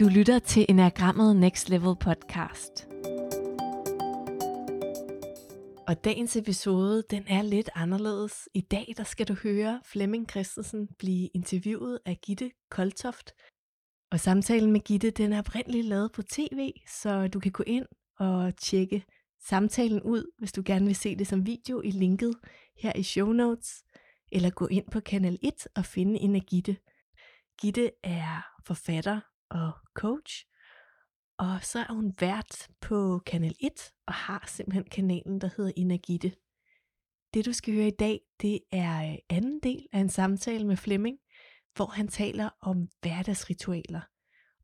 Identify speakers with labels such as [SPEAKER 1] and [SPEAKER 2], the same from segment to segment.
[SPEAKER 1] Du lytter til Enagrammet Next Level podcast. Og dagens episode, den er lidt anderledes. I dag, der skal du høre Flemming Christensen blive interviewet af Gitte Koltoft. Og samtalen med Gitte, den er oprindeligt lavet på tv, så du kan gå ind og tjekke samtalen ud, hvis du gerne vil se det som video i linket her i show notes, eller gå ind på kanal 1 og finde en af Gitte. Gitte er forfatter og coach, og så er hun vært på kanal 1 og har simpelthen kanalen, der hedder Energitte. Det du skal høre i dag, det er øh, anden del af en samtale med Flemming, hvor han taler om hverdagsritualer.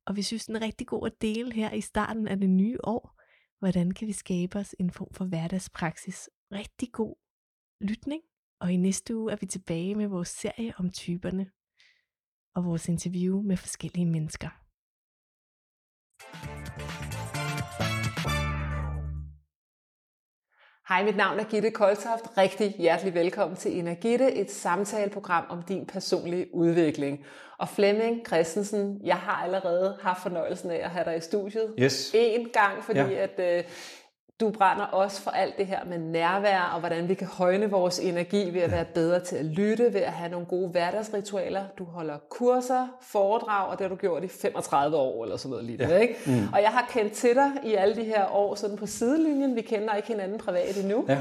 [SPEAKER 1] Og vi synes, den er rigtig god at dele her i starten af det nye år. Hvordan kan vi skabe os en form for hverdagspraksis? Rigtig god lytning. Og i næste uge er vi tilbage med vores serie om typerne og vores interview med forskellige mennesker.
[SPEAKER 2] Hej, mit navn er Gitte Koldtoft. Rigtig hjertelig velkommen til Energitte, et samtaleprogram om din personlige udvikling. Og Flemming Christensen, jeg har allerede haft fornøjelsen af at have dig i studiet.
[SPEAKER 3] Yes.
[SPEAKER 2] En gang, fordi ja.
[SPEAKER 3] Ja.
[SPEAKER 2] at øh, du brænder også for alt det her med nærvær, og hvordan vi kan højne vores energi ved at være bedre til at lytte, ved at have nogle gode hverdagsritualer. Du holder kurser, foredrag, og det har du gjort i 35 år, eller sådan noget lige ja. ikke? Mm. Og jeg har kendt til dig i alle de her år, sådan på sidelinjen. Vi kender ikke hinanden privat endnu.
[SPEAKER 3] Ja.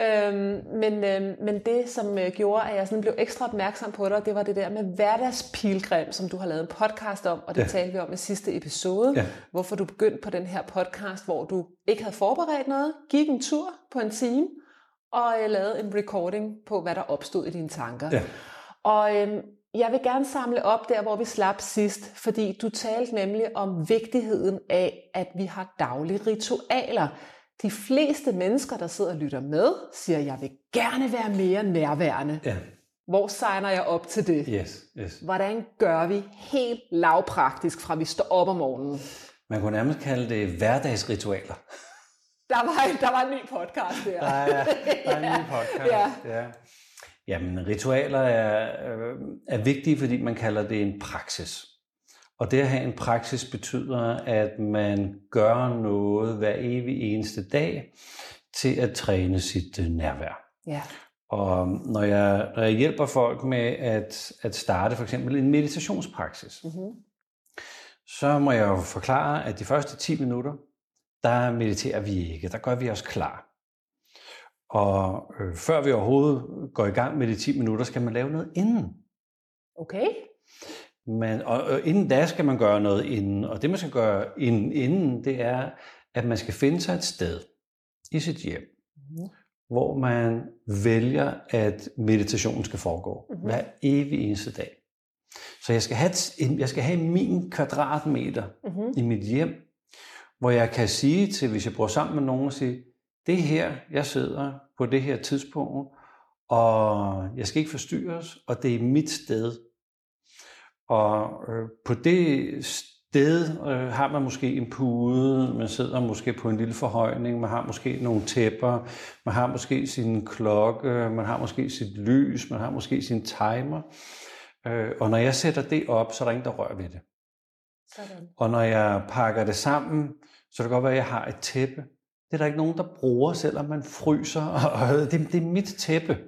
[SPEAKER 2] Øhm, men, øhm, men det, som øh, gjorde, at jeg sådan blev ekstra opmærksom på dig, det var det der med hverdagspilgrim, som du har lavet en podcast om, og det ja.
[SPEAKER 3] Ja.
[SPEAKER 2] talte vi om i sidste episode.
[SPEAKER 3] Ja.
[SPEAKER 2] Hvorfor du begyndte på den her podcast, hvor du ikke havde forberedt noget, gik en tur på en time, og øh, lavede en recording på, hvad der opstod i dine tanker.
[SPEAKER 3] Ja.
[SPEAKER 2] Og øhm, jeg vil gerne samle op der, hvor vi slap sidst, fordi du talte nemlig om vigtigheden af, at vi har daglige ritualer. De fleste mennesker, der sidder og lytter med, siger, jeg vil gerne være mere nærværende.
[SPEAKER 3] Ja.
[SPEAKER 2] Hvor signer jeg op til det?
[SPEAKER 3] Yes, yes.
[SPEAKER 2] Hvordan gør vi helt lavpraktisk, fra vi står op om morgenen?
[SPEAKER 3] Man kunne nærmest kalde det hverdagsritualer.
[SPEAKER 2] Der var, der var en ny podcast der.
[SPEAKER 3] Der er, der er en ny podcast.
[SPEAKER 2] Ja.
[SPEAKER 3] Ja. Jamen, ritualer er, øh, er vigtige, fordi man kalder det en praksis. Og det at have en praksis betyder, at man gør noget hver evig eneste dag til at træne sit øh, nærvær.
[SPEAKER 2] Ja.
[SPEAKER 3] Og når jeg, når jeg hjælper folk med at, at starte for eksempel en meditationspraksis,
[SPEAKER 2] Mm-hmm.
[SPEAKER 3] så må jeg jo forklare, at de første 10 minutter, der mediterer vi ikke. Der gør vi os klar. Og øh, før vi overhovedet går i gang med de 10 minutter, skal man lave noget inden.
[SPEAKER 2] Okay.
[SPEAKER 3] Man, og, og inden da skal man gøre noget inden. Og det, man skal gøre inden, inden det er, at man skal finde sig et sted i sit hjem,
[SPEAKER 2] Mhm.
[SPEAKER 3] hvor man vælger, at meditationen skal foregå
[SPEAKER 2] Mhm.
[SPEAKER 3] hver evig eneste dag. Så jeg skal have, et- en- jeg skal have min kvadratmeter
[SPEAKER 2] Mm-hmm.
[SPEAKER 3] i mit hjem, hvor jeg kan sige til, hvis jeg bor sammen med nogen, og sige, det er her, jeg sidder på det her tidspunkt, og jeg skal ikke forstyrres, og det er mit sted. Og øh, på det sted øh, har man måske en pude, man sidder måske på en lille forhøjning, man har måske nogle tæpper, man har måske sin klokke, man har måske sit lys, man har måske sin timer. Øh, og når jeg sætter det op, så er der ingen, der rører ved det.
[SPEAKER 2] Sådan.
[SPEAKER 3] Og når jeg pakker det sammen, så kan det godt være, at jeg har et tæppe. Det er der ikke nogen, der bruger, selvom man fryser. Og det, det er mit tæppe.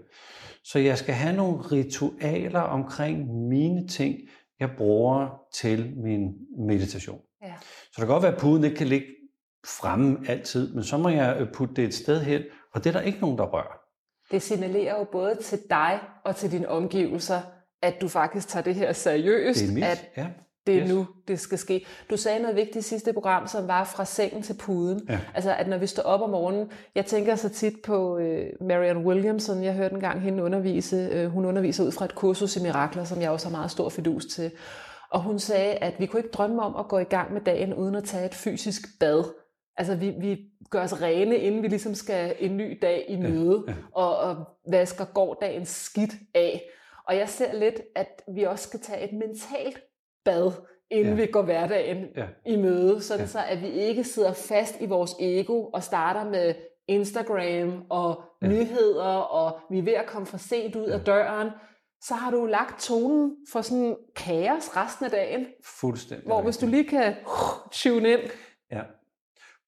[SPEAKER 3] Så jeg skal have nogle ritualer omkring mine ting, jeg bruger til min meditation.
[SPEAKER 2] Ja.
[SPEAKER 3] Så det kan godt være, at puden ikke kan ligge fremme altid, men så må jeg øh, putte det et sted hen, og det er der ikke nogen, der rører.
[SPEAKER 2] Det signalerer jo både til dig og til dine omgivelser, at du faktisk tager det her seriøst,
[SPEAKER 3] Det er mit.
[SPEAKER 2] at
[SPEAKER 3] Ja.
[SPEAKER 2] det er
[SPEAKER 3] Yes.
[SPEAKER 2] nu, det skal ske. Du sagde noget vigtigt i sidste program, som var fra sengen til puden.
[SPEAKER 3] Ja.
[SPEAKER 2] Altså, at når vi står op om morgenen, jeg tænker så tit på øh, Marianne Williamson, jeg hørte engang hende undervise, øh, hun underviser ud fra et kursus i mirakler, som jeg også har meget stor fidus til. Og hun sagde, at vi kunne ikke drømme om at gå i gang med dagen, uden at tage et fysisk bad. Altså, vi, vi gør os rene, inden vi ligesom skal en ny dag i møde, ja, ja. Og, og vasker gårdagens skidt af. Og jeg ser lidt, at vi også skal tage et mentalt bad, inden ja.
[SPEAKER 3] Ja.
[SPEAKER 2] vi går hverdagen ja.
[SPEAKER 3] Ja.
[SPEAKER 2] i møde, sådan ja.
[SPEAKER 3] Ja.
[SPEAKER 2] så at vi ikke sidder fast i vores ego og starter med Instagram og ja.
[SPEAKER 3] Ja.
[SPEAKER 2] nyheder, og vi er ved at komme for sent ud ja.
[SPEAKER 3] Ja.
[SPEAKER 2] af døren. så har du lagt tonen for sådan kaos resten af dagen.
[SPEAKER 3] Fuldstændig.
[SPEAKER 2] Hvor hvis du lige kan uh, tune ind,
[SPEAKER 3] Ja.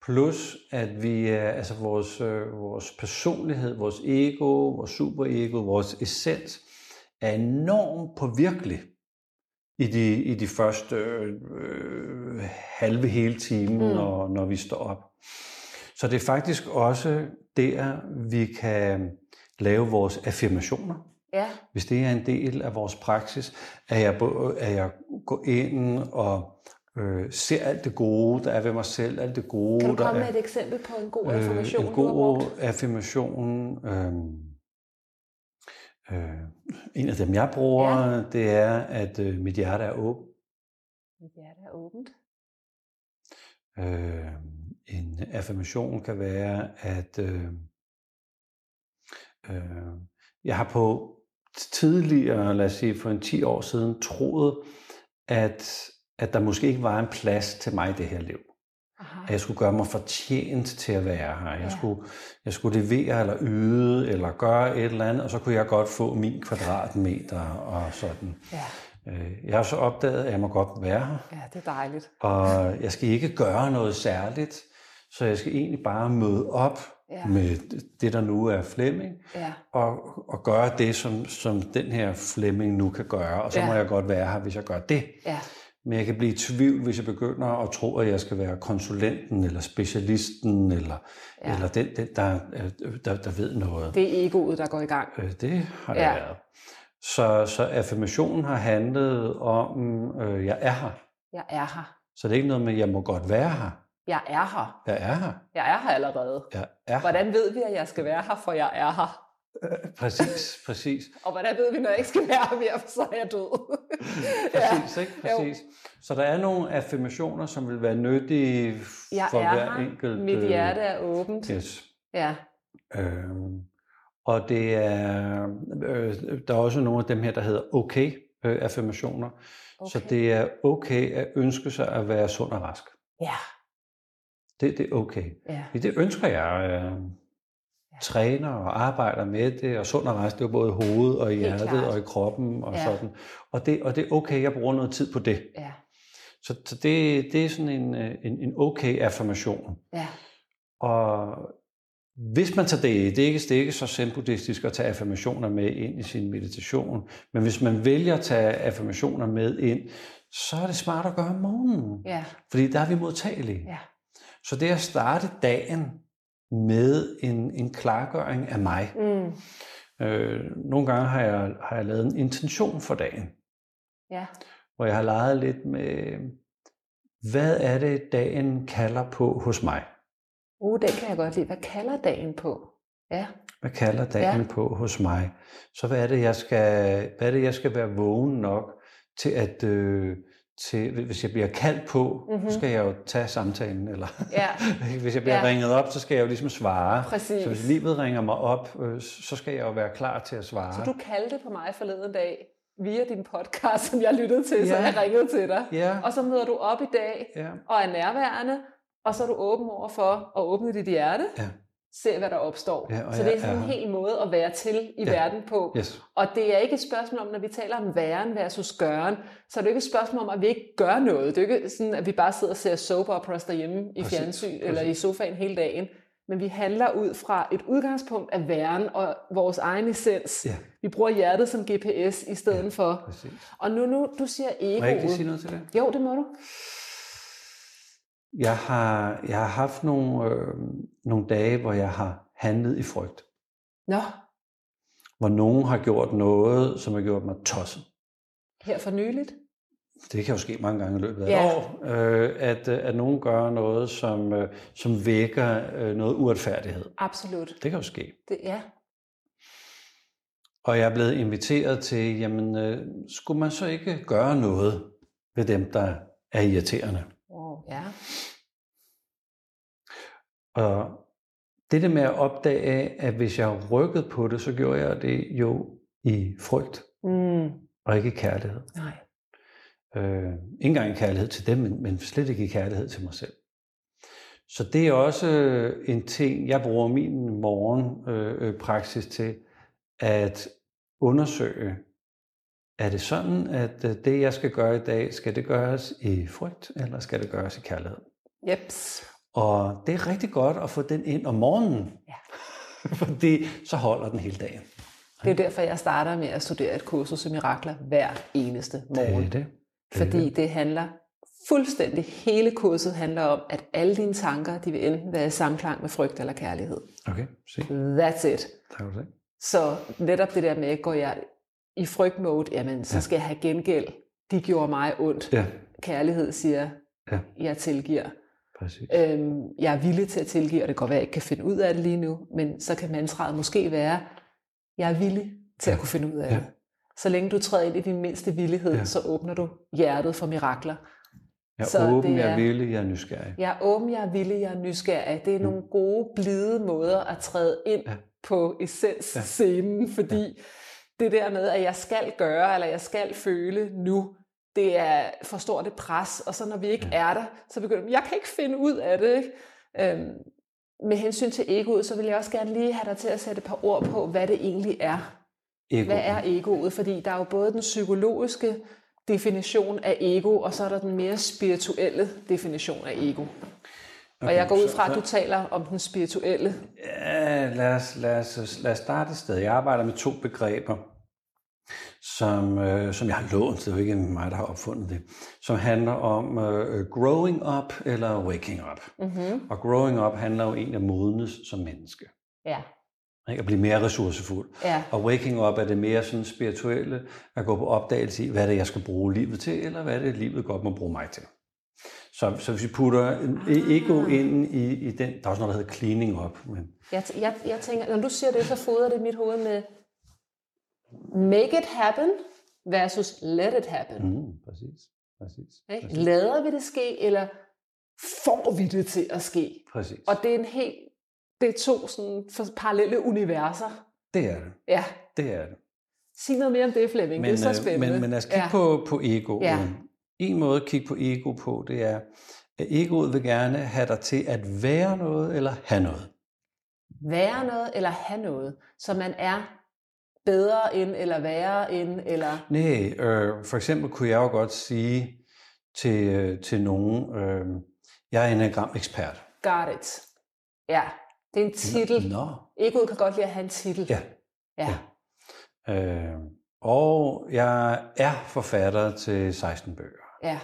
[SPEAKER 3] Plus, at vi er, altså vores, øh, vores personlighed, vores ego, vores superego, vores essens, er enormt påvirkelig i de, i de første øh, øh, halve hele time, mm. når, når vi står op. Så det er faktisk også der, vi kan lave vores affirmationer
[SPEAKER 2] ja,
[SPEAKER 3] hvis det er en del af vores praksis, at jeg, bo- at jeg går ind og øh, ser alt det gode, der er ved mig selv, alt det gode,
[SPEAKER 2] kan du
[SPEAKER 3] der
[SPEAKER 2] komme
[SPEAKER 3] er
[SPEAKER 2] med et eksempel på en god information,
[SPEAKER 3] øh,
[SPEAKER 2] du
[SPEAKER 3] en
[SPEAKER 2] har
[SPEAKER 3] god
[SPEAKER 2] brugt?
[SPEAKER 3] affirmation. Øh, øh, en af dem, jeg bruger, ja. det er, at øh, mit hjerte er åbent.
[SPEAKER 2] Mit hjerte er åbent.
[SPEAKER 3] Øh, en affirmation kan være, at øh, øh, jeg har på tidligere, lad os sige for en 10 år siden, troet, at, at der måske ikke var en plads til mig i det her liv.
[SPEAKER 2] Aha.
[SPEAKER 3] At jeg skulle gøre mig fortjent til at være her. Jeg,
[SPEAKER 2] Ja.
[SPEAKER 3] skulle, jeg skulle levere eller yde eller gøre et eller andet, og så kunne jeg godt få min kvadratmeter og sådan.
[SPEAKER 2] Ja,
[SPEAKER 3] Øh, Jeg har så opdaget, at jeg må godt være her.
[SPEAKER 2] ja, det er dejligt.
[SPEAKER 3] Og jeg skal ikke gøre noget særligt, så jeg skal egentlig bare møde op
[SPEAKER 2] Ja.
[SPEAKER 3] ja. med det, der nu er Flemming,
[SPEAKER 2] Ja,
[SPEAKER 3] og, og gøre det, som, som den her Flemming nu kan gøre. Og så
[SPEAKER 2] Ja.
[SPEAKER 3] ja. må jeg godt være her, hvis jeg gør det.
[SPEAKER 2] ja,
[SPEAKER 3] Men jeg kan blive i tvivl, hvis jeg begynder at tro, at jeg skal være konsulenten, eller specialisten, eller,
[SPEAKER 2] Ja.
[SPEAKER 3] ja. eller den, den der, øh, der, der ved noget.
[SPEAKER 2] det er egoet, der går i gang.
[SPEAKER 3] Øh, det har det
[SPEAKER 2] Ja.
[SPEAKER 3] ja. været. Så, så affirmationen har handlet om, øh, jeg er her.
[SPEAKER 2] Jeg er her.
[SPEAKER 3] Så det er ikke noget med, jeg må godt være her.
[SPEAKER 2] Jeg er her.
[SPEAKER 3] Jeg er her.
[SPEAKER 2] Jeg er her allerede.
[SPEAKER 3] Jeg er her.
[SPEAKER 2] Hvordan ved vi, at jeg skal være her, for jeg er her?
[SPEAKER 3] Præcis, præcis.
[SPEAKER 2] Og hvordan ved vi, når jeg ikke skal være her mere, for så er jeg død?
[SPEAKER 3] Præcis, ikke? Præcis. Så der er nogle affirmationer, som vil være nyttige
[SPEAKER 2] Jeg
[SPEAKER 3] for
[SPEAKER 2] er
[SPEAKER 3] hver
[SPEAKER 2] her.
[SPEAKER 3] enkelt.
[SPEAKER 2] Mit
[SPEAKER 3] øh,
[SPEAKER 2] hjerte er åbent.
[SPEAKER 3] Yes.
[SPEAKER 2] Ja,
[SPEAKER 3] Øhm, og det er, øh, der er også nogle af dem her, der hedder okay-affirmationer. Okay. Så
[SPEAKER 2] Okay.
[SPEAKER 3] det er okay at ønske sig at være sund og rask.
[SPEAKER 2] ja,
[SPEAKER 3] Det, det er okay.
[SPEAKER 2] ja.
[SPEAKER 3] Fordi det ønsker jeg. Øh, træner og arbejder med det, og sund og rask, det er jo både i hovedet og i
[SPEAKER 2] Helt
[SPEAKER 3] hjertet
[SPEAKER 2] klart.
[SPEAKER 3] og i kroppen og
[SPEAKER 2] Ja.
[SPEAKER 3] ja. sådan. Og det, og det er okay, jeg bruger noget tid på det.
[SPEAKER 2] Ja,
[SPEAKER 3] Så, så det, det er sådan en, øh, en, en okay affirmation.
[SPEAKER 2] ja,
[SPEAKER 3] Og hvis man tager det, det er ikke, det er ikke så zen-buddhistisk at tage affirmationer med ind i sin meditation, men hvis man vælger at tage affirmationer med ind, så er det smart at gøre om morgenen,
[SPEAKER 2] ja,
[SPEAKER 3] fordi der er vi modtagelige.
[SPEAKER 2] ja.
[SPEAKER 3] Så det at starte dagen med en, en klargøring af mig,
[SPEAKER 2] Mm.
[SPEAKER 3] Øh, nogle gange har jeg, har jeg lavet en intention for dagen,
[SPEAKER 2] Ja,
[SPEAKER 3] hvor jeg har leget lidt med, hvad er det, dagen kalder på hos mig?
[SPEAKER 2] uh, den kan jeg godt lide. Hvad kalder dagen på? Ja,
[SPEAKER 3] Hvad kalder dagen
[SPEAKER 2] Ja.
[SPEAKER 3] ja. på hos mig? Så hvad er, det, jeg skal, hvad er det, jeg skal være vågen nok til at... Øh, til, hvis jeg bliver kaldt på,
[SPEAKER 2] Mhm.
[SPEAKER 3] mm-hmm. skal jeg jo tage samtalen. Eller,
[SPEAKER 2] ja,
[SPEAKER 3] hvis jeg bliver
[SPEAKER 2] Ja.
[SPEAKER 3] ja. ringet op, så skal jeg jo ligesom svare.
[SPEAKER 2] præcis.
[SPEAKER 3] Så hvis livet ringer mig op, øh, så skal jeg jo være klar til at svare.
[SPEAKER 2] Så du kaldte på mig forleden dag via din podcast, som jeg lyttede til, ja. så
[SPEAKER 3] Ja.
[SPEAKER 2] jeg ringede til dig.
[SPEAKER 3] Ja,
[SPEAKER 2] Og så møder du op i dag
[SPEAKER 3] ja.
[SPEAKER 2] og er nærværende, og så er du åben over for at åbne dit hjerte.
[SPEAKER 3] Ja.
[SPEAKER 2] Se, hvad der opstår.
[SPEAKER 3] Ja, og
[SPEAKER 2] så det er
[SPEAKER 3] jeg
[SPEAKER 2] sådan
[SPEAKER 3] er
[SPEAKER 2] en
[SPEAKER 3] her.
[SPEAKER 2] hel måde at være til i ja.
[SPEAKER 3] Ja.
[SPEAKER 2] verden på.
[SPEAKER 3] Yes.
[SPEAKER 2] Og det er ikke et spørgsmål om, når vi taler om væren versus gøren, så er det jo ikke et spørgsmål om, at vi ikke gør noget. Det er jo ikke sådan, at vi bare sidder og ser soap operas derhjemme i
[SPEAKER 3] Præcis,
[SPEAKER 2] fjernsyn
[SPEAKER 3] præcis.
[SPEAKER 2] eller i sofaen hele dagen. Men vi handler ud fra et udgangspunkt af væren og vores egen essens.
[SPEAKER 3] Ja.
[SPEAKER 2] Vi bruger hjertet som GPS i stedet ja. for.
[SPEAKER 3] Præcis.
[SPEAKER 2] Og nu, nu, du siger
[SPEAKER 3] Må jeg ikke lige
[SPEAKER 2] egoet.
[SPEAKER 3] sige noget til det?
[SPEAKER 2] Jo, det må du.
[SPEAKER 3] Jeg har, jeg har haft nogle, øh, nogle dage, hvor jeg har handlet i frygt.
[SPEAKER 2] Nå,
[SPEAKER 3] Hvor nogen har gjort noget, som har gjort mig tosset.
[SPEAKER 2] her for nyligt.
[SPEAKER 3] Det kan jo ske mange gange i løbet af
[SPEAKER 2] Ja.
[SPEAKER 3] ja. et år, øh, at, øh, at nogen gør noget, som, øh, som vækker øh, noget uretfærdighed.
[SPEAKER 2] Absolut.
[SPEAKER 3] Det kan jo ske.
[SPEAKER 2] Det, ja.
[SPEAKER 3] Og jeg er blevet inviteret til, jamen, øh, skulle man så ikke gøre noget ved dem, der er irriterende?
[SPEAKER 2] Wow. Ja.
[SPEAKER 3] Og det der med at opdage, at hvis jeg rykkede på det, så gjorde jeg det jo i frygt
[SPEAKER 2] Mm.
[SPEAKER 3] og ikke i kærlighed.
[SPEAKER 2] Nej.
[SPEAKER 3] Øh, ikke engang i kærlighed til dem, men, men slet ikke i kærlighed til mig selv. Så det er også øh, en ting, jeg bruger min morgenpraksis øh, øh, praksis til, at undersøge, er det sådan, at øh, det, jeg skal gøre i dag, skal det gøres i frygt, eller skal det gøres i kærlighed?
[SPEAKER 2] Jeps.
[SPEAKER 3] Og det er rigtig godt at få den ind om morgenen,
[SPEAKER 2] Ja.
[SPEAKER 3] fordi så holder den hele dagen.
[SPEAKER 2] Det er jo derfor, jeg starter med at studere et kursus i mirakler hver eneste morgen.
[SPEAKER 3] det.
[SPEAKER 2] Fordi det handler fuldstændig, hele kurset handler om, at alle dine tanker, de vil enten være i samklang med frygt eller kærlighed.
[SPEAKER 3] Okay, se.
[SPEAKER 2] That's it.
[SPEAKER 3] Tak for det.
[SPEAKER 2] Så netop det der med, går jeg i frygtmode, jamen så skal jeg have gengæld. De gjorde mig ondt.
[SPEAKER 3] Ja,
[SPEAKER 2] Kærlighed siger,
[SPEAKER 3] Ja.
[SPEAKER 2] jeg tilgiver.
[SPEAKER 3] præcis.
[SPEAKER 2] Øhm, jeg er villig til at tilgive, og det kan godt være, jeg ikke kan finde ud af det lige nu, men så kan mantraet måske være, jeg er villig til at kunne finde ud af
[SPEAKER 3] Ja.
[SPEAKER 2] det. Så længe du træder ind i din mindste villighed,
[SPEAKER 3] Ja.
[SPEAKER 2] så åbner du hjertet for mirakler.
[SPEAKER 3] Jeg
[SPEAKER 2] så
[SPEAKER 3] er åben,
[SPEAKER 2] det
[SPEAKER 3] jeg
[SPEAKER 2] er-
[SPEAKER 3] er villig, jeg er nysgerrig.
[SPEAKER 2] Jeg er åben, jeg er villig, jeg er nysgerrig. Det er nogle gode, blide måder at træde ind Mm. ja.
[SPEAKER 3] Ja.
[SPEAKER 2] på essensscenen, ja. fordi ja. det der med, at jeg skal gøre, eller jeg skal føle nu, det er for stort et pres, og så når vi ikke ja. er der, så begynder jeg kan ikke finde ud af det. Ikke? Øhm, med hensyn til egoet, så vil jeg også gerne lige have dig til at sætte et par ord på, hvad det egentlig er.
[SPEAKER 3] Ego.
[SPEAKER 2] Hvad er egoet? Fordi der er jo både den psykologiske definition af ego, og så er der den mere spirituelle definition af ego. Okay, og jeg går ud fra, at du taler om den spirituelle.
[SPEAKER 3] Ja, lad os, lad, os, lad os starte et sted. Jeg arbejder med to begreber, som, øh, som jeg har lånt, det er jo ikke mig, der har opfundet det, som handler om øh, growing up eller waking up.
[SPEAKER 2] Mm-hmm.
[SPEAKER 3] Og growing up handler jo egentlig om modnes som menneske.
[SPEAKER 2] Ja.
[SPEAKER 3] Ikke? At blive mere ressourcefuld.
[SPEAKER 2] ja.
[SPEAKER 3] Og waking up er det mere sådan spirituelle, at gå på opdagelse i, hvad er det, jeg skal bruge livet til, eller hvad er det, livet godt må bruge mig til. Så, så hvis vi putter en- e-
[SPEAKER 2] Ah.
[SPEAKER 3] ego ind i, i den, der er også noget, der hedder cleaning up, men
[SPEAKER 2] Jeg, t- jeg, jeg tænker, når du siger det, så fodrer det mit hoved med make it happen versus let it happen.
[SPEAKER 3] Mm, præcis. Præcis.
[SPEAKER 2] Ikke?
[SPEAKER 3] præcis.
[SPEAKER 2] Lader vi det ske, eller får vi det til at ske?
[SPEAKER 3] præcis.
[SPEAKER 2] Og det er en helt, det er to sådan for- parallelle universer.
[SPEAKER 3] det er det.
[SPEAKER 2] Ja.
[SPEAKER 3] Det er det.
[SPEAKER 2] Sig noget mere om det, Flemming. Men, det er så
[SPEAKER 3] øh,
[SPEAKER 2] spændende.
[SPEAKER 3] men, men lad os kigge
[SPEAKER 2] ja.
[SPEAKER 3] ja. på, på egoet.
[SPEAKER 2] Ja.
[SPEAKER 3] Ja. En måde at kigge på ego på, det er, at egoet vil gerne have dig til at være noget eller have noget.
[SPEAKER 2] Være noget eller have noget, så man er bedre end, eller værre end, eller...
[SPEAKER 3] Nej, øh, for eksempel kunne jeg jo godt sige til, øh, til nogen, øh, jeg er enagram-ekspert.
[SPEAKER 2] Got it. Ja, det er en titel.
[SPEAKER 3] Nå,
[SPEAKER 2] Egoet kan godt lide at have en titel.
[SPEAKER 3] ja.
[SPEAKER 2] ja.
[SPEAKER 3] Øh, og jeg er forfatter til 16 bøger.
[SPEAKER 2] ja.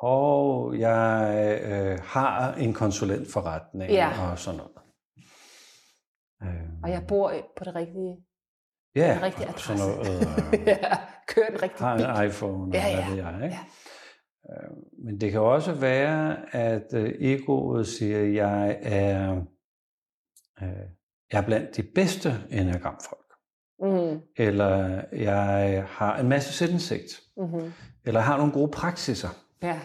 [SPEAKER 3] Og jeg øh, har en konsulentforretning
[SPEAKER 2] Ja.
[SPEAKER 3] ja. og sådan noget. Øh,
[SPEAKER 2] Og jeg bor i- på det rigtige...
[SPEAKER 3] ja,
[SPEAKER 2] den rigtige
[SPEAKER 3] og sådan
[SPEAKER 2] adresse.
[SPEAKER 3] noget. Øh,
[SPEAKER 2] Ja, kører den rigtige bil.
[SPEAKER 3] har en iPhone og
[SPEAKER 2] Ja,
[SPEAKER 3] ja,
[SPEAKER 2] ja,
[SPEAKER 3] hvad ved jeg. Ikke? Øh, Men det kan også være, at øh, egoet siger, at jeg er, øh, jeg er blandt de bedste enagramfolk.
[SPEAKER 2] Mm,
[SPEAKER 3] Eller jeg har en masse selvindsigt.
[SPEAKER 2] mm-hmm.
[SPEAKER 3] Eller jeg har nogle gode praksiser.
[SPEAKER 2] Ja,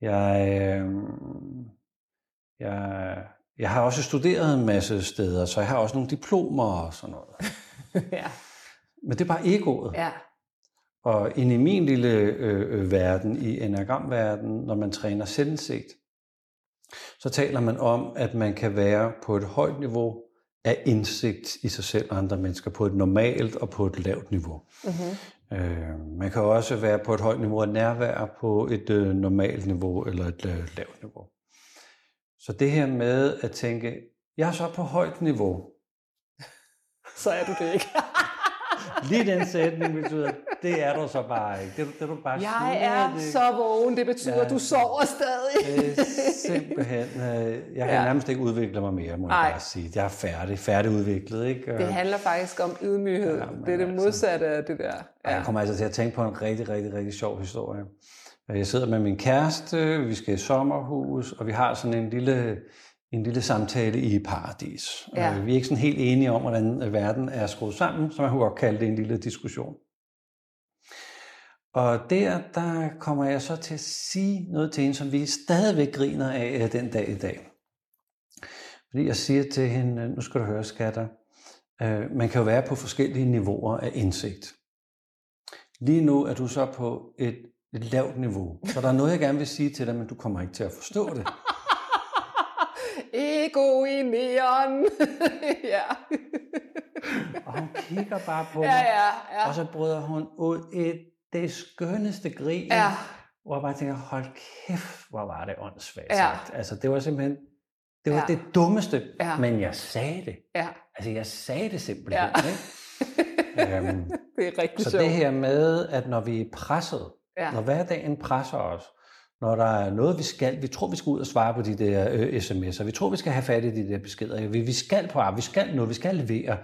[SPEAKER 3] Jeg, øh, jeg, jeg har også studeret en masse steder, så jeg har også nogle diplomer og sådan noget.
[SPEAKER 2] ja,
[SPEAKER 3] Men det er bare egoet.
[SPEAKER 2] ja.
[SPEAKER 3] Og ind i min lille øh, øh, verden, i enagramverdenen, når man træner selvindsigt, så taler man om, at man kan være på et højt niveau af indsigt i sig selv og andre mennesker, på et normalt og på et lavt niveau.
[SPEAKER 2] Mm-hmm.
[SPEAKER 3] Øh, man kan også være på et højt niveau af nærvær på et øh, normalt niveau eller et øh, lavt niveau. Så det her med at tænke, jeg er så på højt niveau.
[SPEAKER 2] Så er du det ikke.
[SPEAKER 3] Lige den sætning betyder, det er du så bare ikke. Det, er du- det er du bare
[SPEAKER 2] Jeg
[SPEAKER 3] slet
[SPEAKER 2] er
[SPEAKER 3] ikke.
[SPEAKER 2] så vågen. Det betyder,
[SPEAKER 3] Ja.
[SPEAKER 2] at du sover stadig.
[SPEAKER 3] Øh, simpelthen. Øh, jeg kan
[SPEAKER 2] Ja.
[SPEAKER 3] ja. nærmest ikke udvikle mig mere, må
[SPEAKER 2] Nej.
[SPEAKER 3] jeg bare sige. Jeg er færdig, færdigudviklet, ikke?
[SPEAKER 2] Det handler faktisk om ydmyghed.
[SPEAKER 3] Ja,
[SPEAKER 2] Ja,
[SPEAKER 3] men
[SPEAKER 2] det er det
[SPEAKER 3] altså.
[SPEAKER 2] modsatte af det der.
[SPEAKER 3] Og jeg kommer altså til at tænke på en rigtig, rigtig, rigtig sjov historie. Øh, Jeg sidder med min kæreste, vi skal i sommerhus, og vi har sådan en lille, en lille samtale i paradis.
[SPEAKER 2] Ja.
[SPEAKER 3] Ja. Vi er ikke sådan helt enige om, hvordan øh, verden er skruet sammen, så man kunne godt kalde det en lille diskussion. Og der, der kommer jeg så til at sige noget til hende, som vi stadigvæk griner af øh, den dag i dag. Fordi jeg siger til hende, øh, nu skal du høre, skatter, øh, man kan jo være på forskellige niveauer af indsigt. Lige nu er du så på et, et lavt niveau, så der er noget, jeg gerne vil sige til dig, men du kommer ikke til at forstå det.
[SPEAKER 2] Ego i neon. ja.
[SPEAKER 3] Og hun kigger bare på mig,
[SPEAKER 2] ja, ja, ja.
[SPEAKER 3] og så bryder hun ud et det skønneste grin.
[SPEAKER 2] Ja,
[SPEAKER 3] Hvor jeg bare tænker, hold kæft, hvor var det åndssvagt
[SPEAKER 2] Ja.
[SPEAKER 3] sagt. Altså, det var simpelthen, det var
[SPEAKER 2] Ja.
[SPEAKER 3] det dummeste,
[SPEAKER 2] Ja.
[SPEAKER 3] men jeg sagde det.
[SPEAKER 2] ja.
[SPEAKER 3] Altså, jeg sagde det simpelthen.
[SPEAKER 2] Ja.
[SPEAKER 3] Ikke? øhm,
[SPEAKER 2] det er rigtig
[SPEAKER 3] så
[SPEAKER 2] sjovt.
[SPEAKER 3] det her med, at når vi er presset,
[SPEAKER 2] ja.
[SPEAKER 3] når hverdagen presser os, når der er noget, vi skal, vi tror, vi skal ud og svare på de der øh, sms'er, vi tror, vi skal have fat i de der beskeder, vi, vi skal på arbejde, vi skal noget, vi skal levere.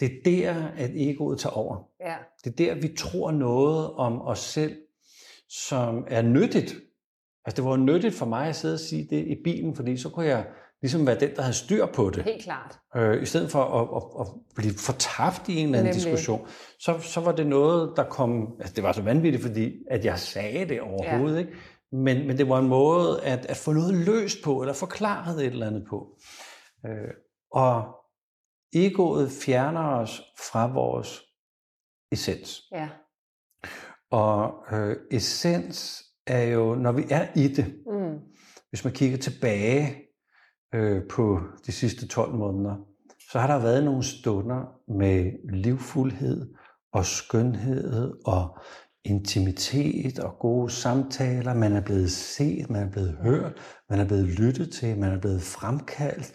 [SPEAKER 3] Det er der, at egoet tager over.
[SPEAKER 2] ja.
[SPEAKER 3] Det er der, vi tror noget om os selv, som er nyttigt. Altså, det var jo nyttigt for mig at sidde og sige det i bilen, fordi så kunne jeg ligesom være den, der havde styr på det.
[SPEAKER 2] Helt klart.
[SPEAKER 3] Øh, I stedet for at, at, at blive fortabt i en eller anden
[SPEAKER 2] Nemlig.
[SPEAKER 3] diskussion, så, så var det noget, der kom... Altså, det var så vanvittigt, fordi at jeg sagde det overhovedet, ikke? Men, men det var en måde at, at få noget løst på, eller forklaret et eller andet på. Øh, og egoet fjerner os fra vores essens.
[SPEAKER 2] Ja.
[SPEAKER 3] Og øh, essens er jo, når vi er i det,
[SPEAKER 2] Mm.
[SPEAKER 3] hvis man kigger tilbage øh, på de sidste 12 måneder, så har der været nogle stunder med livfuldhed og skønhed og intimitet og gode samtaler. Man er blevet set, man er blevet hørt, man er blevet lyttet til, man er blevet fremkaldt.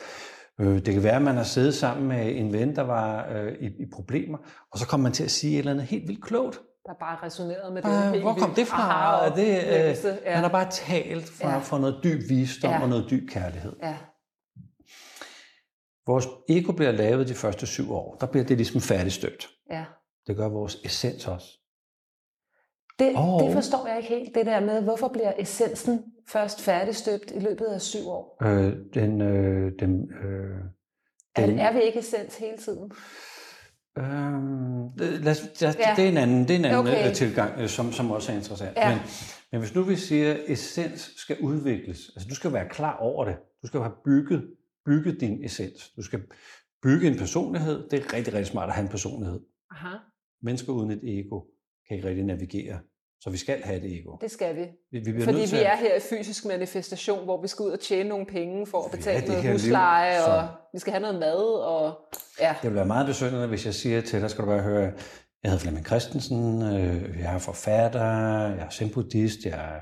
[SPEAKER 3] Øh, Det kan være, at man har siddet sammen med en ven, der var øh, i, i problemer, og så kom man til at sige et eller andet helt vildt klogt.
[SPEAKER 2] Der bare resonerede med det.
[SPEAKER 3] Bare,
[SPEAKER 2] helt
[SPEAKER 3] hvor kom
[SPEAKER 2] vildt.
[SPEAKER 3] det fra?
[SPEAKER 2] Aha,
[SPEAKER 3] Er det, øh,
[SPEAKER 2] oplevelse.
[SPEAKER 3] Ja.
[SPEAKER 2] ja.
[SPEAKER 3] Han har bare talt fra,
[SPEAKER 2] Ja.
[SPEAKER 3] ja. fra noget dyb visdom
[SPEAKER 2] Ja.
[SPEAKER 3] ja. og noget dyb kærlighed.
[SPEAKER 2] ja.
[SPEAKER 3] Vores ego bliver lavet de første syv år. Der bliver det ligesom færdigstøbt.
[SPEAKER 2] ja.
[SPEAKER 3] Det gør vores essens også.
[SPEAKER 2] Det,
[SPEAKER 3] Og-
[SPEAKER 2] det forstår jeg ikke helt, det der med, hvorfor bliver essensen først færdigstøbt i løbet af syv år?
[SPEAKER 3] Øh, den, øh, den, øh,
[SPEAKER 2] Er,
[SPEAKER 3] den,
[SPEAKER 2] er vi ikke essens hele tiden?
[SPEAKER 3] øh, lad os,
[SPEAKER 2] Ja.
[SPEAKER 3] lad, ja. Det er en anden, det er en anden
[SPEAKER 2] Okay.
[SPEAKER 3] okay. tilgang, øh, som, som også er interessant.
[SPEAKER 2] Ja.
[SPEAKER 3] Men, men hvis nu vi siger, at essens skal udvikles, altså du skal være klar over det. Du skal have bygget, bygget din essens. Du skal bygge en personlighed. Det er rigtig, rigtig smart at have en personlighed.
[SPEAKER 2] Aha.
[SPEAKER 3] Mennesker uden et ego kan ikke rigtig navigere. Så vi skal have et ego.
[SPEAKER 2] Det skal vi.
[SPEAKER 3] Vi, vi bliver
[SPEAKER 2] Fordi
[SPEAKER 3] nødt til
[SPEAKER 2] vi
[SPEAKER 3] at-
[SPEAKER 2] er her i fysisk manifestation, hvor vi skal ud og tjene nogle penge for at
[SPEAKER 3] Vi er
[SPEAKER 2] betale
[SPEAKER 3] det
[SPEAKER 2] noget
[SPEAKER 3] her liv,
[SPEAKER 2] husleje,
[SPEAKER 3] så-
[SPEAKER 2] og vi skal have noget mad, og ja,
[SPEAKER 3] Det ville være meget besøgende, hvis jeg siger til dig, skal du bare høre, jeg hedder Flemming Christensen, øh, jeg er forfatter, jeg er zen-buddhist, jeg er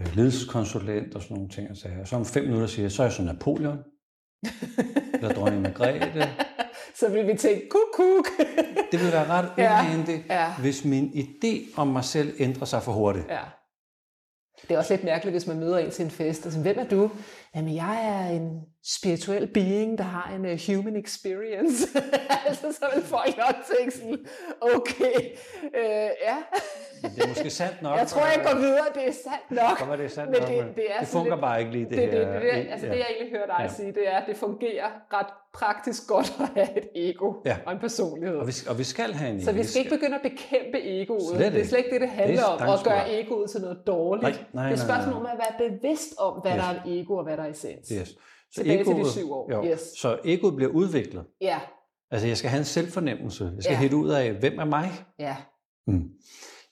[SPEAKER 3] øh, ledelseskonsulent og sådan nogle ting. Og så, og så om fem minutter siger jeg, så er jeg så Napoleon, eller dronning Margrethe.
[SPEAKER 2] så vil vi tænke, kuk, kuk.
[SPEAKER 3] Det ville være ret
[SPEAKER 2] Ja.
[SPEAKER 3] ubehageligt,
[SPEAKER 2] Ja.
[SPEAKER 3] hvis min idé om mig selv ændrer sig for hurtigt.
[SPEAKER 2] ja. Det er også lidt mærkeligt, hvis man møder en til en fest. Altså, hvem er du? Jamen, jeg er en spirituel being, der har en uh, human experience. altså, så vil folk nok tænke sådan, okay, øh, ja.
[SPEAKER 3] Men det er måske sandt nok.
[SPEAKER 2] Jeg tror, jeg går videre, det er sandt nok.
[SPEAKER 3] Så var det sandt
[SPEAKER 2] Men
[SPEAKER 3] nok,
[SPEAKER 2] det-
[SPEAKER 3] men
[SPEAKER 2] det er
[SPEAKER 3] det
[SPEAKER 2] sådan
[SPEAKER 3] fungerer
[SPEAKER 2] lidt-
[SPEAKER 3] bare ikke lige det,
[SPEAKER 2] Det, det, det,
[SPEAKER 3] her.
[SPEAKER 2] det, det, altså,
[SPEAKER 3] Ja.
[SPEAKER 2] det, jeg egentlig hører dig ja.
[SPEAKER 3] Ja.
[SPEAKER 2] sige, det er, at det fungerer ret praktisk godt at have et ego
[SPEAKER 3] Ja.
[SPEAKER 2] og en personlighed.
[SPEAKER 3] og, vi, og vi skal have en
[SPEAKER 2] Så vi
[SPEAKER 3] idé.
[SPEAKER 2] skal ikke begynde at bekæmpe egoet.
[SPEAKER 3] Slet
[SPEAKER 2] det er
[SPEAKER 3] ikke.
[SPEAKER 2] slet ikke det, det handler
[SPEAKER 3] Det er
[SPEAKER 2] om, at gøre
[SPEAKER 3] dankbar.
[SPEAKER 2] egoet til noget dårligt.
[SPEAKER 3] Nej, nej,
[SPEAKER 2] det er
[SPEAKER 3] nej,
[SPEAKER 2] et spørgsmål om
[SPEAKER 3] nej.
[SPEAKER 2] at være bevidst om, hvad
[SPEAKER 3] Yes.
[SPEAKER 2] der er et ego og hvad der er essens.
[SPEAKER 3] Yes. Så
[SPEAKER 2] Tilbage til de syv år.
[SPEAKER 3] Jo,
[SPEAKER 2] Yes.
[SPEAKER 3] Så egoet bliver udviklet.
[SPEAKER 2] Ja,
[SPEAKER 3] Altså, jeg skal have en selvfornemmelse. Jeg skal
[SPEAKER 2] Ja.
[SPEAKER 3] ja. hætte ud af, hvem er mig?
[SPEAKER 2] ja,
[SPEAKER 3] Mm.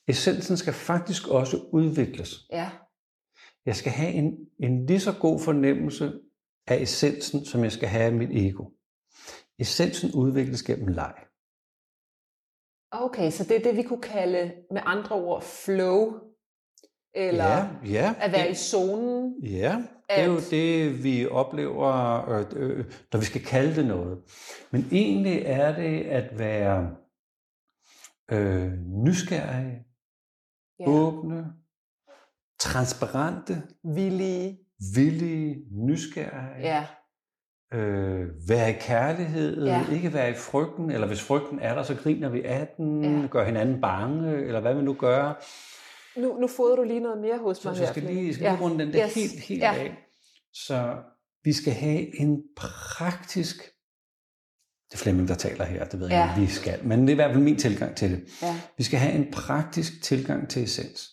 [SPEAKER 3] Essensen skal faktisk også udvikles.
[SPEAKER 2] ja,
[SPEAKER 3] Jeg skal have en, en lige så god fornemmelse af essensen, som jeg skal have af mit ego. Essensen udvikles gennem leg.
[SPEAKER 2] Okay, så det er det, vi kunne kalde med andre ord flow, eller ja,
[SPEAKER 3] ja, ja,
[SPEAKER 2] at være i
[SPEAKER 3] det,
[SPEAKER 2] zonen.
[SPEAKER 3] ja, det er jo
[SPEAKER 2] at-
[SPEAKER 3] det, vi oplever, øh, øh, når vi skal kalde det noget. Men egentlig er det at være øh, nysgerrig,
[SPEAKER 2] Ja,
[SPEAKER 3] åbne, transparente,
[SPEAKER 2] villige.
[SPEAKER 3] villige, nysgerrige,
[SPEAKER 2] Ja,
[SPEAKER 3] øh, være i kærlighed,
[SPEAKER 2] Ja.
[SPEAKER 3] ja. ikke være i frygten, eller hvis frygten er der, så griner vi af den,
[SPEAKER 2] Ja.
[SPEAKER 3] ja. gør hinanden bange, eller hvad vi nu gør.
[SPEAKER 2] nu, nu fodrer du lige noget mere hos
[SPEAKER 3] Så,
[SPEAKER 2] mig
[SPEAKER 3] så jeg skal
[SPEAKER 2] Flemming.
[SPEAKER 3] lige, jeg skal lige
[SPEAKER 2] Ja.
[SPEAKER 3] runde den der
[SPEAKER 2] Yes.
[SPEAKER 3] yes. helt, helt
[SPEAKER 2] Ja.
[SPEAKER 3] ja. af. Så vi skal have en praktisk... Det er Flemming, der taler her, det ved jeg
[SPEAKER 2] Ja.
[SPEAKER 3] ikke, om vi skal. Men det er i hvert fald min tilgang til det.
[SPEAKER 2] Ja.
[SPEAKER 3] Vi skal have en praktisk tilgang til essens.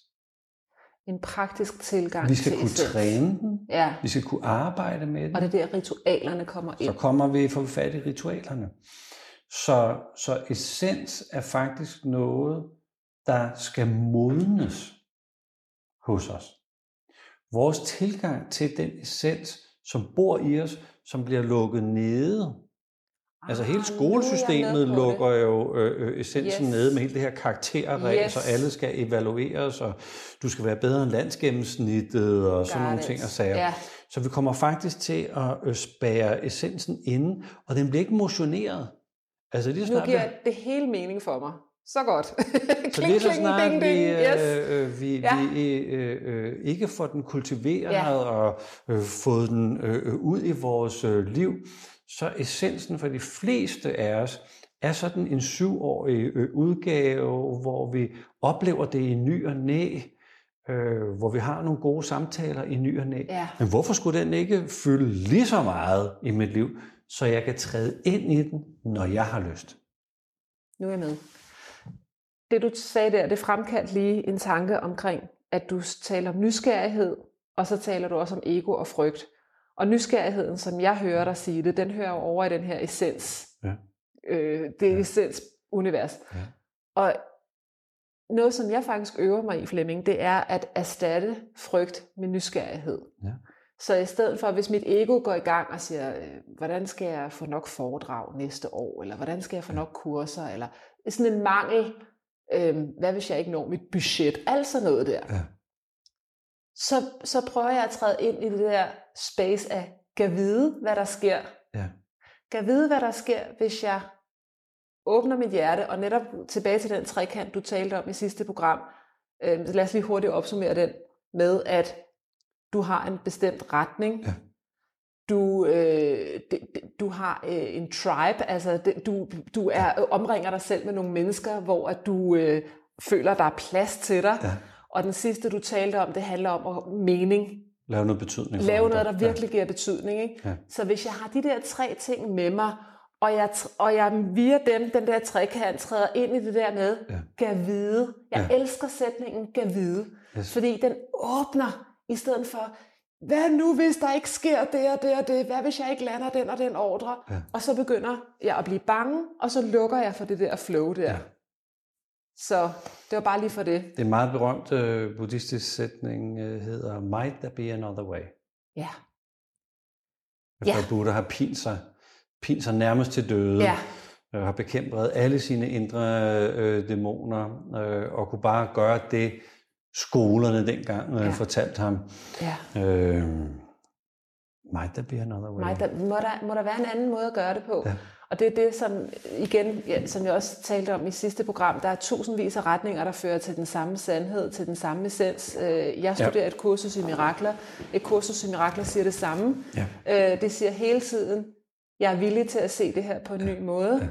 [SPEAKER 2] En praktisk tilgang
[SPEAKER 3] Vi skal
[SPEAKER 2] til
[SPEAKER 3] kunne
[SPEAKER 2] essens.
[SPEAKER 3] træne den.
[SPEAKER 2] Ja,
[SPEAKER 3] Vi skal kunne arbejde med den.
[SPEAKER 2] og det er der ritualerne kommer
[SPEAKER 3] Så
[SPEAKER 2] ind.
[SPEAKER 3] kommer vi for fat i ritualerne. Så, så essens er faktisk noget, der skal modnes hos os. Vores tilgang til den essens, som bor i os, som bliver lukket nede, Altså hele
[SPEAKER 2] Ah, nu er jeg med
[SPEAKER 3] skolesystemet
[SPEAKER 2] på
[SPEAKER 3] lukker jo øh, øh, essensen
[SPEAKER 2] Yes.
[SPEAKER 3] yes. ned med hele det her karakterregel,
[SPEAKER 2] Yes.
[SPEAKER 3] yes. så alle skal evalueres, og du skal være bedre end landsgennemsnittet og sådan
[SPEAKER 2] Got
[SPEAKER 3] nogle
[SPEAKER 2] it.
[SPEAKER 3] ting og sager.
[SPEAKER 2] Ja.
[SPEAKER 3] Så vi kommer faktisk til at øh, spære essensen inde, og den bliver ikke motioneret. Altså lige så
[SPEAKER 2] Nu
[SPEAKER 3] snart,
[SPEAKER 2] giver
[SPEAKER 3] vi,
[SPEAKER 2] det hele mening for mig. Så godt.
[SPEAKER 3] så
[SPEAKER 2] kling,
[SPEAKER 3] lige så
[SPEAKER 2] kling,
[SPEAKER 3] snart
[SPEAKER 2] ding,
[SPEAKER 3] vi,
[SPEAKER 2] ding. Yes.
[SPEAKER 3] øh, øh, vi,
[SPEAKER 2] Ja.
[SPEAKER 3] vi øh, øh, ikke får den kultiveret
[SPEAKER 2] Ja.
[SPEAKER 3] og øh, fået den øh, øh, ud i vores øh, liv, så essensen for de fleste af os er sådan en syvårig øh, udgave, hvor vi oplever det i ny og næ, øh, hvor vi har nogle gode samtaler i ny og næ.
[SPEAKER 2] Ja.
[SPEAKER 3] Men hvorfor skulle den ikke fylde lige så meget i mit liv, så jeg kan træde ind i den, når jeg har lyst?
[SPEAKER 2] Nu er jeg med. Det du sagde der, det fremkaldte lige en tanke omkring, at du taler om nysgerrighed, og så taler du også om ego og frygt. Og nysgerrigheden, som jeg hører dig sige det, den hører jo over i den her essens.
[SPEAKER 3] Ja.
[SPEAKER 2] Øh, det er ja.
[SPEAKER 3] Ja.
[SPEAKER 2] essens-univers.
[SPEAKER 3] Ja.
[SPEAKER 2] Og noget, som jeg faktisk øver mig i, Flemming, det er at erstatte frygt med nysgerrighed.
[SPEAKER 3] Ja.
[SPEAKER 2] Så i stedet for, hvis mit ego går i gang og siger, øh, hvordan skal jeg få nok foredrag næste år, eller hvordan skal jeg få nok kurser, eller sådan en mangel, øh, hvad hvis jeg ikke når mit budget, alt sådan noget der.
[SPEAKER 3] Ja.
[SPEAKER 2] Så, så prøver jeg at træde ind i det der space af, kan vide, hvad der sker.
[SPEAKER 3] Ja.
[SPEAKER 2] Kan vide, hvad der sker, hvis jeg åbner mit hjerte, og netop tilbage til den trekant, du talte om i sidste program, øh, lad os lige hurtigt opsummere den, med at du har en bestemt retning,
[SPEAKER 3] Ja.
[SPEAKER 2] du, øh, det- det- du har øh, en tribe, altså det, du, du er, øh, omringer dig selv med nogle mennesker, hvor at du øh, føler, der er plads til dig.
[SPEAKER 3] Ja.
[SPEAKER 2] Og den sidste, du talte om, det handler om at- mening.
[SPEAKER 3] Lave noget betydning. for
[SPEAKER 2] Lave
[SPEAKER 3] andre.
[SPEAKER 2] noget, der virkelig giver betydning. Ikke?
[SPEAKER 3] Ja.
[SPEAKER 2] Så hvis jeg har de der tre ting med mig, og jeg, tr- og jeg via dem, den der trekant, træder ind i det der med,
[SPEAKER 3] Ja.
[SPEAKER 2] gav vide. Jeg ja.
[SPEAKER 3] Ja.
[SPEAKER 2] elsker sætningen gav vide,
[SPEAKER 3] Yes.
[SPEAKER 2] fordi den åbner, i stedet for, hvad nu hvis der ikke sker det og det og det? Hvad hvis jeg ikke lander den og den ordre?
[SPEAKER 3] Ja.
[SPEAKER 2] Og så begynder jeg at blive bange, og så lukker jeg for det der flow der.
[SPEAKER 3] Ja.
[SPEAKER 2] Så det var bare lige for det.
[SPEAKER 3] Det er en meget berømt øh, buddhistisk sætning, øh, hedder Might there be another way?
[SPEAKER 2] Ja.
[SPEAKER 3] Efter
[SPEAKER 2] Ja.
[SPEAKER 3] ja. Buddha har pint sig, pint sig nærmest til døde,
[SPEAKER 2] Ja.
[SPEAKER 3] øh, har bekæmpet alle sine indre øh, dæmoner, øh, og kunne bare gøre det, skolerne dengang øh,
[SPEAKER 2] Ja.
[SPEAKER 3] ja. fortalte ham.
[SPEAKER 2] ja.
[SPEAKER 3] Øh, might there be another way?
[SPEAKER 2] Nej, der, må, der, må der være en anden måde at gøre det på. Ja.
[SPEAKER 3] Ja.
[SPEAKER 2] Og det er det, som, igen, ja, som jeg også talte om i sidste program, der er tusindvis af retninger, der fører til den samme sandhed, til den samme essens. Øh, Jeg studerer ja. et kursus i mirakler. Et kursus i mirakler siger det samme.
[SPEAKER 3] Ja.
[SPEAKER 2] Øh, Det siger hele tiden, jeg er villig til at se det her på en ny måde. Ja.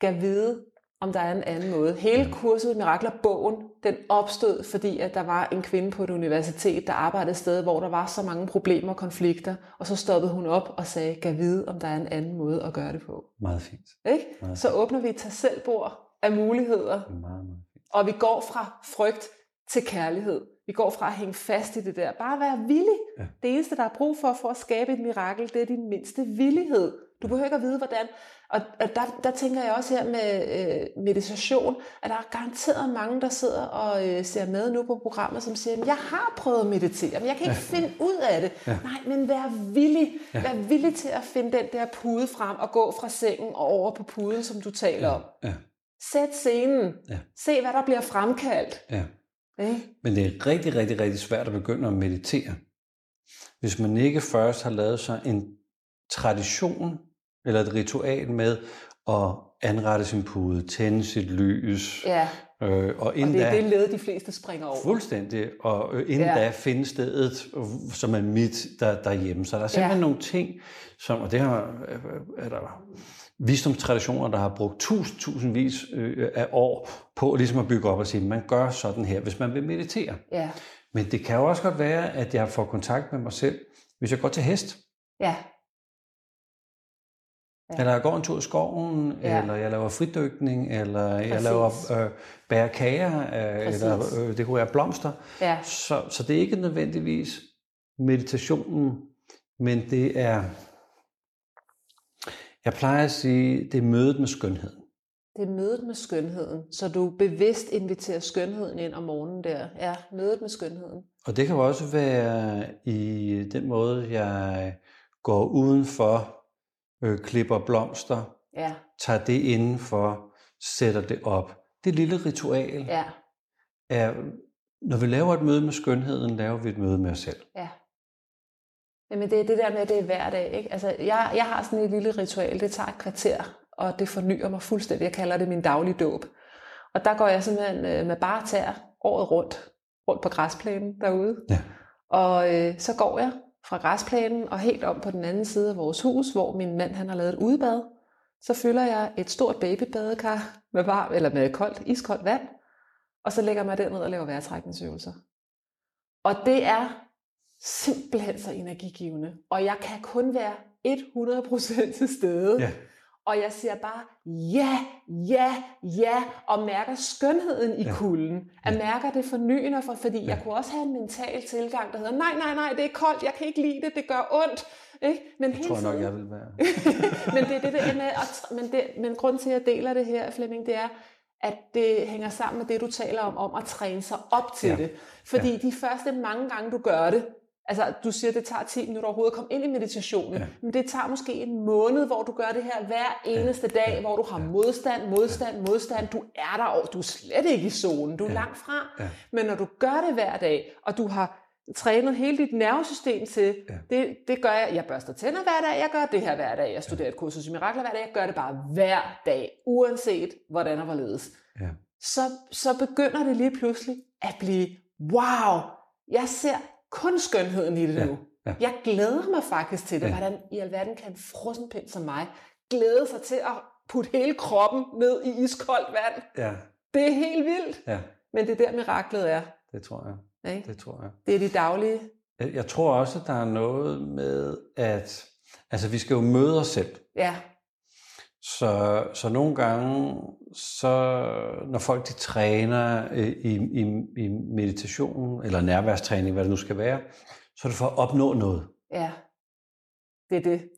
[SPEAKER 2] Gav vide, om der er en anden måde. Hele kurset i mirakler, bogen, den opstod, fordi at der var en kvinde på et universitet, der arbejdede et sted, hvor der var så mange problemer og konflikter, og så stoppede hun op og sagde, gav vide, om der er en anden måde at gøre det på.
[SPEAKER 3] Meget fint.
[SPEAKER 2] Ikke?
[SPEAKER 3] Meget
[SPEAKER 2] Så åbner vi et tag selv bord af muligheder,
[SPEAKER 3] Meget, meget fint.
[SPEAKER 2] og vi går fra frygt til kærlighed. Vi går fra at hænge fast i det der. Bare være villig. Ja.
[SPEAKER 3] Ja.
[SPEAKER 2] Det eneste, der er brug for for at skabe et mirakel, det er din mindste villighed. Du behøver ikke at vide, hvordan. Og, og der, der tænker jeg også her med øh, meditation, at der er garanteret mange, der sidder og øh, ser med nu på programmet, som siger, "Jamen, jeg har prøvet at meditere, men jeg kan ikke ja. finde ud af det. Ja. Nej, men vær villig. Ja. Vær villig til at finde den der pude frem og gå fra sengen og over på puden, som du taler ja. om.
[SPEAKER 3] Ja,
[SPEAKER 2] Sæt scenen.
[SPEAKER 3] Ja.
[SPEAKER 2] Se, hvad der bliver fremkaldt.
[SPEAKER 3] ja.
[SPEAKER 2] Ikke?
[SPEAKER 3] Men det er rigtig, rigtig, rigtig svært at begynde at meditere, hvis man ikke først har lavet sig en tradition eller et ritual med at anrette sin pude, tænde sit lys,
[SPEAKER 2] Ja,
[SPEAKER 3] øh, og
[SPEAKER 2] og
[SPEAKER 3] inden
[SPEAKER 2] det er
[SPEAKER 3] da,
[SPEAKER 2] det led, de fleste springer over.
[SPEAKER 3] fuldstændig, og øh, inden
[SPEAKER 2] Ja.
[SPEAKER 3] ja. da finde stedet, øh, som er mit der, derhjemme. Så der er simpelthen
[SPEAKER 2] Ja.
[SPEAKER 3] ja. nogle ting, som, og det har, øh, er der visdomstraditioner, der har brugt tus, tusindvis øh, af år på ligesom at bygge op og sige, man gør sådan her, hvis man vil meditere.
[SPEAKER 2] Ja,
[SPEAKER 3] Men det kan jo også godt være, at jeg får kontakt med mig selv, hvis jeg går til hest,
[SPEAKER 2] ja, Ja.
[SPEAKER 3] ja. eller jeg går en tur i skoven,
[SPEAKER 2] Ja.
[SPEAKER 3] ja. eller jeg laver fridykning, eller Præcis. jeg
[SPEAKER 2] Præcis.
[SPEAKER 3] laver øh, bærer kager, øh,
[SPEAKER 2] Præcis.
[SPEAKER 3] eller øh, det kunne være blomster.
[SPEAKER 2] ja,
[SPEAKER 3] Så, så det er ikke nødvendigvis meditationen, men det er, jeg plejer at sige, det er mødet med skønheden.
[SPEAKER 2] det er mødet med skønheden. Så du bevidst inviterer skønheden ind om morgenen der. Ja, mødet med skønheden.
[SPEAKER 3] Og det kan jo også være i den måde, jeg går udenfor, øh, klipper blomster,
[SPEAKER 2] Ja,
[SPEAKER 3] tager det indenfor, sætter det op. Det lille ritual ja.
[SPEAKER 2] ja,
[SPEAKER 3] er, når vi laver et møde med skønheden, laver vi et møde med os selv.
[SPEAKER 2] ja. Jamen det er det der med, at det er hver dag. Ikke? Altså, jeg, jeg har sådan et lille ritual, det tager et kvarter, og det fornyer mig fuldstændig. Jeg kalder det min daglige dåb. Og der går jeg simpelthen øh, med bare tæer året rundt, rundt på græsplænen derude.
[SPEAKER 3] Ja.
[SPEAKER 2] Og øh, så går jeg fra græsplænen og helt om på den anden side af vores hus, hvor min mand han har lavet et udebad. Så fylder jeg et stort babybadekar med varm eller med koldt, iskoldt vand, og så lægger jeg mig derned og laver vejrtrækningsøvelser. Og det er simpelthen så energigivende. Og jeg kan kun være 100% til stede.
[SPEAKER 3] Ja.
[SPEAKER 2] Og jeg siger bare, ja, ja, ja, og mærker skønheden i
[SPEAKER 3] Ja.
[SPEAKER 2] ja. kulden. Jeg
[SPEAKER 3] Ja.
[SPEAKER 2] mærker det fornyende, for, fordi ja.
[SPEAKER 3] Ja.
[SPEAKER 2] jeg kunne også have en mental tilgang, der hedder, nej, nej, nej, det er koldt, jeg kan ikke lide det, det gør ondt. Ikke? Men
[SPEAKER 3] Det
[SPEAKER 2] hele
[SPEAKER 3] tror jeg nok,
[SPEAKER 2] tiden,
[SPEAKER 3] jeg vil være.
[SPEAKER 2] men det er det der med, at, tr- men, det, men grunden til, at jeg deler det her, Flemming, det er, at det hænger sammen med det, du taler om, om at træne sig op til
[SPEAKER 3] Ja.
[SPEAKER 2] ja. det. Fordi ja. de første mange gange, du gør det, altså du siger, det tager 10 minutter overhovedet at komme ind i meditationen,
[SPEAKER 3] Ja.
[SPEAKER 2] ja. men det tager måske en måned, hvor du gør det her hver eneste ja. dag, hvor du har modstand, modstand, modstand, du er der, og du er slet ikke i zonen, du er
[SPEAKER 3] Ja.
[SPEAKER 2] ja. langt fra.
[SPEAKER 3] Ja.
[SPEAKER 2] Men når du gør det hver dag, og du har trænet hele dit nervesystem til,
[SPEAKER 3] Ja.
[SPEAKER 2] ja. det, det gør jeg, jeg børster tænder hver dag, jeg gør det her hver dag, jeg studerer et kursus i mirakler hver dag, jeg gør det bare hver dag, uanset hvordan og hvorledes.
[SPEAKER 3] Ja.
[SPEAKER 2] Så, så begynder det lige pludselig at blive, wow, jeg ser kun skønheden i det
[SPEAKER 3] Ja.
[SPEAKER 2] nu.
[SPEAKER 3] Ja.
[SPEAKER 2] Jeg glæder mig faktisk til det.
[SPEAKER 3] Ja.
[SPEAKER 2] Hvordan i alverden kan en frossenpind som mig glæde sig til at putte hele kroppen ned i iskoldt vand?
[SPEAKER 3] ja,
[SPEAKER 2] Det er helt vildt,
[SPEAKER 3] ja,
[SPEAKER 2] men det er der miraklet er.
[SPEAKER 3] det tror jeg.
[SPEAKER 2] Ikke?
[SPEAKER 3] Det tror jeg.
[SPEAKER 2] Det er de daglige.
[SPEAKER 3] Jeg- Jeg tror også, at der er noget med, at altså, vi skal jo møde os selv.
[SPEAKER 2] Ja,
[SPEAKER 3] Så, så nogle gange, så, når folk de træner øh, i, i, i meditation, eller nærværstræning, hvad det nu skal være, så er det for at opnå noget.
[SPEAKER 2] ja. Det er det.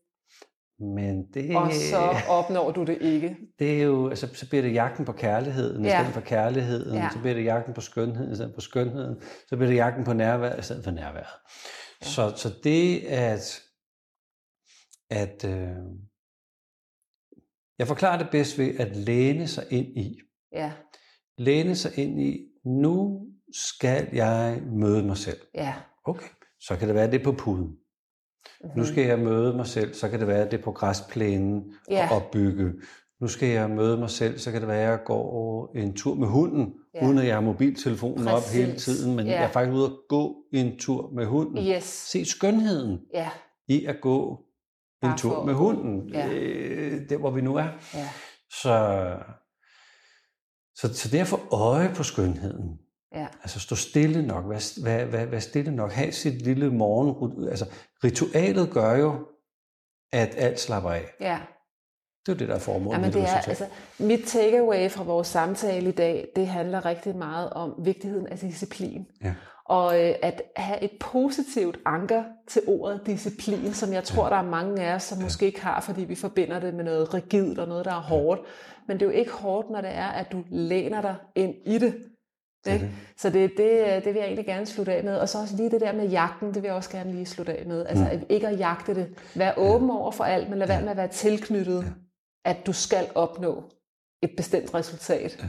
[SPEAKER 3] Men det,
[SPEAKER 2] Og så opnår du det ikke.
[SPEAKER 3] det er jo, altså, så bliver det jagten på kærligheden i
[SPEAKER 2] Ja.
[SPEAKER 3] stedet for kærligheden, ja.
[SPEAKER 2] Ja.
[SPEAKER 3] så bliver det jagten på skønheden i stedet for skønheden, så bliver det jagten på nærvær i stedet for nærværet. Ja.
[SPEAKER 2] Ja.
[SPEAKER 3] Så, så det at, at øh, jeg forklarer det bedst ved at læne sig ind i,
[SPEAKER 2] Ja,
[SPEAKER 3] læne sig ind i, nu skal jeg møde mig selv.
[SPEAKER 2] ja.
[SPEAKER 3] Okay. Så kan det være, at det er på puden.
[SPEAKER 2] Mm-hmm.
[SPEAKER 3] Nu skal jeg møde mig selv, så kan det være, at det er på græsplænen
[SPEAKER 2] Ja.
[SPEAKER 3] ja. og opbygge. Nu skal jeg møde mig selv, så kan det være, at jeg går en tur med hunden, ja.
[SPEAKER 2] Ja.
[SPEAKER 3] uden at jeg har mobiltelefonen Præcis. op
[SPEAKER 2] Præcis.
[SPEAKER 3] hele tiden, men ja.
[SPEAKER 2] Ja.
[SPEAKER 3] jeg er faktisk ude at gå en tur med hunden. Ja.
[SPEAKER 2] Yes.
[SPEAKER 3] Se skønheden
[SPEAKER 2] Ja,
[SPEAKER 3] i at gå en
[SPEAKER 2] Bare for
[SPEAKER 3] tur
[SPEAKER 2] at
[SPEAKER 3] med
[SPEAKER 2] gå.
[SPEAKER 3] hunden,
[SPEAKER 2] Ja.
[SPEAKER 3] øh, der hvor vi nu er.
[SPEAKER 2] ja,
[SPEAKER 3] Så, så, så det at få øje på skønheden,
[SPEAKER 2] ja.
[SPEAKER 3] altså stå stille nok, være, være, være, være stille nok, have sit lille morgen, altså ritualet gør jo, at alt slapper af.
[SPEAKER 2] ja.
[SPEAKER 3] Det er jo det, der er formålet
[SPEAKER 2] Jamen,
[SPEAKER 3] med
[SPEAKER 2] det er,
[SPEAKER 3] ritual.
[SPEAKER 2] altså, mit takeaway fra vores samtale i dag, det handler rigtig meget om vigtigheden af disciplin.
[SPEAKER 3] Ja.
[SPEAKER 2] Og øh, at have et positivt anker til ordet disciplin, som jeg tror, der er mange af os, som måske ikke har, fordi vi forbinder det med noget rigidt og noget, der er hårdt. Men det er jo ikke hårdt, når det er, at du læner dig ind i det.
[SPEAKER 3] Det er
[SPEAKER 2] Ikke?
[SPEAKER 3] det.
[SPEAKER 2] Så det, det, øh, det vil jeg egentlig gerne slutte af med. Og så også lige det der med jagten, det vil jeg også gerne lige slutte af med.
[SPEAKER 3] Mm.
[SPEAKER 2] Altså at ikke at jagte det. Vær åben over for alt, men lad være med at være tilknyttet, at du skal opnå et bestemt resultat.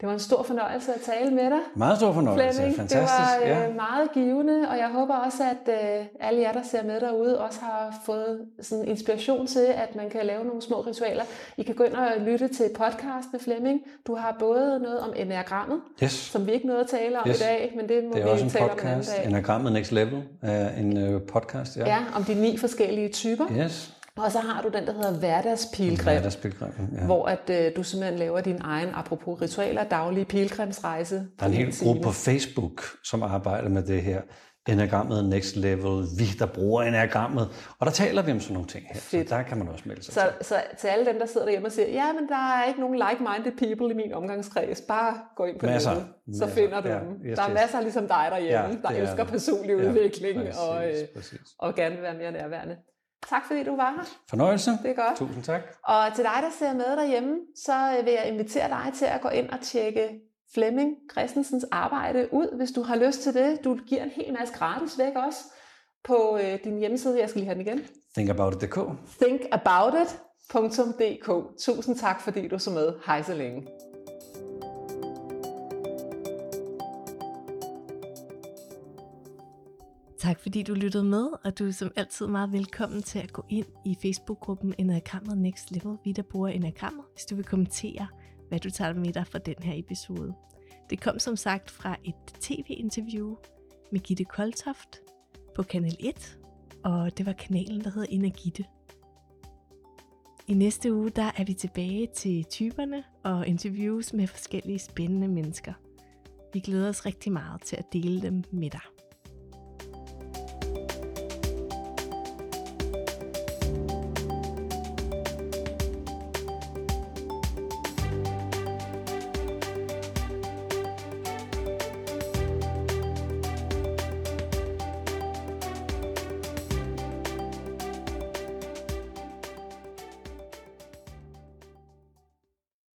[SPEAKER 2] Det var en stor fornøjelse at tale med dig.
[SPEAKER 3] Meget stor fornøjelse.
[SPEAKER 2] Flemming. Det
[SPEAKER 3] Fantastisk.
[SPEAKER 2] var øh,
[SPEAKER 3] ja.
[SPEAKER 2] meget givende, og jeg håber også, at øh, alle jer, der ser med derude, også har fået sådan inspiration til, at man kan lave nogle små ritualer. I kan gå ind og lytte til podcast med Flemming. Du har både noget om enagrammet,
[SPEAKER 3] Yes.
[SPEAKER 2] som vi ikke nåede at tale om
[SPEAKER 3] Yes.
[SPEAKER 2] yes. i dag, men det må
[SPEAKER 3] Det er
[SPEAKER 2] vi
[SPEAKER 3] også en
[SPEAKER 2] tale om en anden
[SPEAKER 3] podcast.
[SPEAKER 2] dag.
[SPEAKER 3] Enagrammet Next Level er en øh, podcast. Ja.
[SPEAKER 2] Ja, om de ni forskellige typer.
[SPEAKER 3] Yes.
[SPEAKER 2] Og så har du den, der hedder hverdagspilgrim.
[SPEAKER 3] Hverdagspilgrimen, Ja.
[SPEAKER 2] hvor at øh, du simpelthen laver din egen, apropos ritualer, daglige pilgrimsrejse.
[SPEAKER 3] Der er en hel gruppe på Facebook, som arbejder med det her. Enagrammet Next Level. Vi, der bruger enagrammet. Og der taler vi om sådan nogle ting her.
[SPEAKER 2] Fedt.
[SPEAKER 3] Så der kan man også melde sig
[SPEAKER 2] Så,
[SPEAKER 3] til.
[SPEAKER 2] så til alle dem, der sidder derhjemme og siger, ja, men der er ikke nogen like-minded people i min omgangskreds, bare gå ind på
[SPEAKER 3] Masser.
[SPEAKER 2] nettet, så
[SPEAKER 3] Masser.
[SPEAKER 2] finder du
[SPEAKER 3] Ja,
[SPEAKER 2] dem.
[SPEAKER 3] yes,
[SPEAKER 2] der er
[SPEAKER 3] yes.
[SPEAKER 2] masser ligesom dig derhjemme,
[SPEAKER 3] Ja,
[SPEAKER 2] der
[SPEAKER 3] det er
[SPEAKER 2] elsker
[SPEAKER 3] der.
[SPEAKER 2] personlig
[SPEAKER 3] Ja,
[SPEAKER 2] udvikling
[SPEAKER 3] præcis,
[SPEAKER 2] og, øh,
[SPEAKER 3] præcis.
[SPEAKER 2] og gerne vil være mere nærværende. Tak fordi du var her.
[SPEAKER 3] Fornøjelse.
[SPEAKER 2] Det er godt.
[SPEAKER 3] Tusind tak.
[SPEAKER 2] Og til dig, der ser med derhjemme, så øh, vil jeg invitere dig til at gå ind og tjekke Flemming Christensens arbejde ud, hvis du har lyst til det. Du giver en hel masse gratis væk også på øh, din hjemmeside. Jeg skal lige have den igen.
[SPEAKER 3] Think about it.dk.
[SPEAKER 2] Think About It. www.hejselænge.dk. Tusind tak, fordi du så med. Hej så længe.
[SPEAKER 1] Tak fordi du lyttede med, og du er som altid meget velkommen til at gå ind i Facebook-gruppen Enagrammet Next Level, vi der bruger enagrammer, hvis du vil kommentere, hvad du tager med dig fra den her episode. Det kom som sagt fra et tv-interview med Gitte Koltoft på Kanal 1, og det var kanalen, der hedder Energitte. I næste uge der er vi tilbage til typerne og interviews med forskellige spændende mennesker. Vi glæder os rigtig meget til at dele dem med dig.